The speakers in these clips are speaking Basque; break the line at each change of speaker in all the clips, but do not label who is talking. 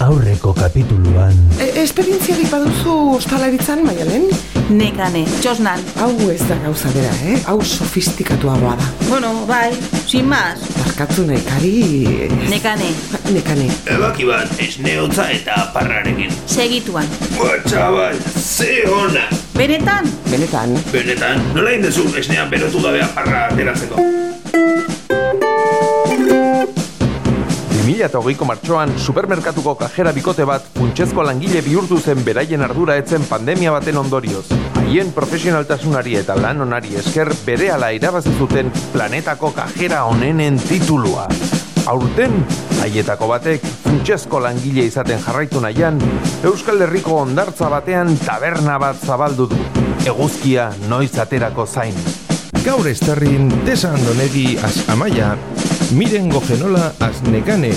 Aurreko kapituluan,
E, esperientziarik baduzu ostalaritzan, Maialen?
Nekane, txosnan.
Hau ez da gauza bera, eh? Hau sofistikatuagoa da.
Bueno, bai, sin más.
Barkatu nekari...
Nekane,
Nekane.
Ebaki bat esneotza eta aparrarekin.
segituan.
Ba, txabal, ze ona!
Benetan,
Benetan,
Benetan, nola indezu esnean berotu gabe aparra ateratzeko?
2008ko martxoan supermerkatuko kajera bikote bat funtsezko langile bihurtu zen beraien ardura etzen pandemia baten ondorioz. Haien profesionaltasunari eta lan onari esker berehala irabazi zuten planetako kajera onenen titulua. Aurten, haietako batek funtsezko langile izaten jarraitu nahian, Euskal Herriko ondartza batean taberna bat zabaldu du. Eguzkia noiz aterako zain.
Gaur estarrin Tesa Andonegi az Amaia, Miren Gogenola az Nekane,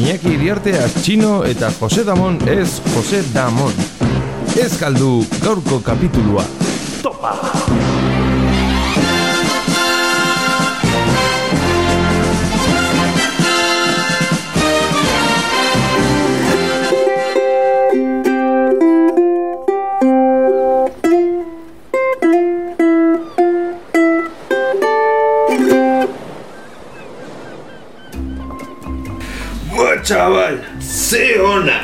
Iñaki Iriarte az Txino eta Jose Damon ez Jose Damon. Ez galdu gaurko kapitulua.
Ba, txabal, ze ona!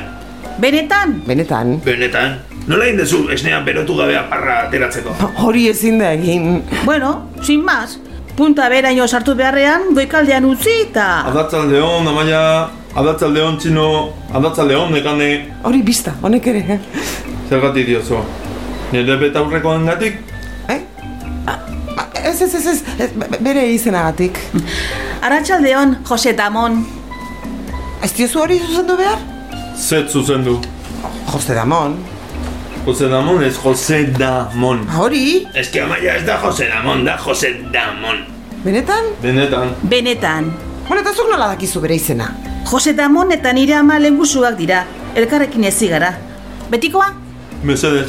benetan.
benetan.
Benetan, nola indezu esnean berotu gabe aparra ateratzeko?
Hori ezin da egin.
Bueno, sin más. Punta beraino sartu beharrean, goikaldean utzi eta...
Arratzaldeon, Amaia, Arratzaldeon, Txino, Arratzaldeon, Nekane,
Hori bizta, honek ere. eh?
zergatik diozu. Nire betaurrekoan gatik,
Eh? Ah, ba, Ez, ez, ez, ez, ez, be- bere izenagatik.
Arratxaldeon, Jose Damon.
Ez diozu hori zuzendu behar?
zet zuzendu.
Jose Damon.
Jose Damon ez Jose Damon.
Ah, Hori,
Ez que amaia ez da Jose Damon, da Jose Damon.
benetan?
Benetan,
Benetan.
Bueno, eta zuk nola dakizu bere izena?
Jose Damon eta nire ama lengusuak dira. Elkarrekin ezi gara. Betikoa?
mesedez,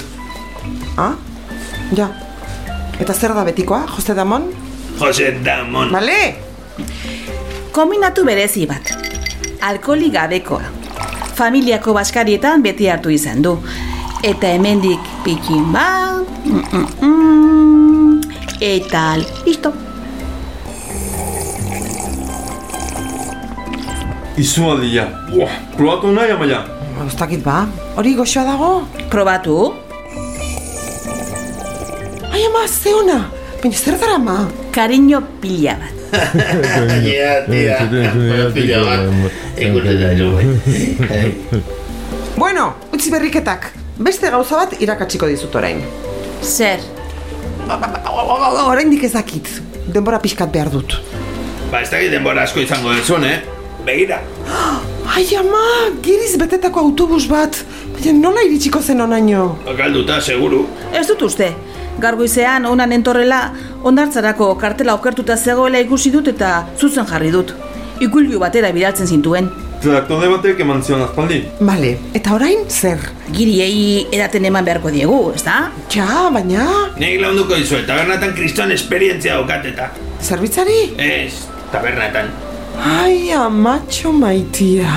Ah? Ja. Eta zer da betikoa, Jose Damon?
Jose Damon.
Bale?
Kombinatu berezi bat. Alkoli gabekoa. Familiako baskarietan beti hartu izan du. Eta hemendik pikin bat. Mm, mm, mm, eta listo.
izualdia. Buah, probatu nahi, Amaia.
Ba, Ez dakit ba. Hori goxoa dago?
Probatu.
Ai ama, ze ona! Baina zer dara ma?
Kariño pila bat.
Ja, tira. Pila bat. Ikutetan jo, bai.
Bueno, utzi berriketak. Beste gauza bat irakatsiko dizut orain.
Zer?
Ba, ba, ba, ba, ba, Oraindik ez dakit. Denbora pixkat behar dut.
Ba, ez dakit denbora asko izango duzun, eh? Begira,
Ai ama, giriz betetako autobus bat. Baina nola iritsiko zen onaino?
galduta seguru.
Ez dut uste. Gaur goizean onan entorrela ondartzarako kartela okertuta zegoela ikusi dut eta zuzen jarri dut. Ikulio batera bidaltzen zintuen.
Traktore batek eman zion aspaldi.
Bale, eta orain zer?
Giriei edaten eman beharko diegu, ez da?
Ja, baina...
Nik launduko dizuet, tabernetan kriston esperientzia daukat eta.
Zerbitzari?
Ez, tabernetan.
Ai amatxo maitia.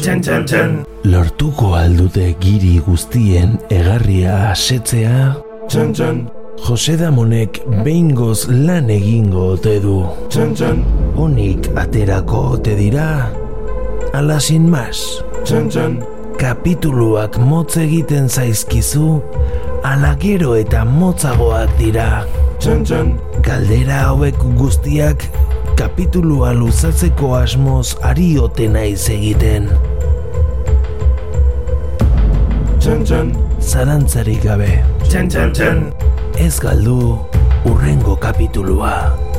Txan, txan, txan.
lortuko aldute giri guztien egarria asetzea,
Txan txan,
Jose Damonek behingoz lan egingo ote du.
txan txan,
Onik aterako ote dira, ala sin mas.
txan txan,
Kapituluak motz egiten zaizkizu, ala gero eta motzagoak dira.
txan txan,
Galdera hauek guztiak kapitulua luzatzeko asmoz ari ote naiz egiten.
txan txan.
Zarantzarik gabe. Ez galdu urrengo kapitulua.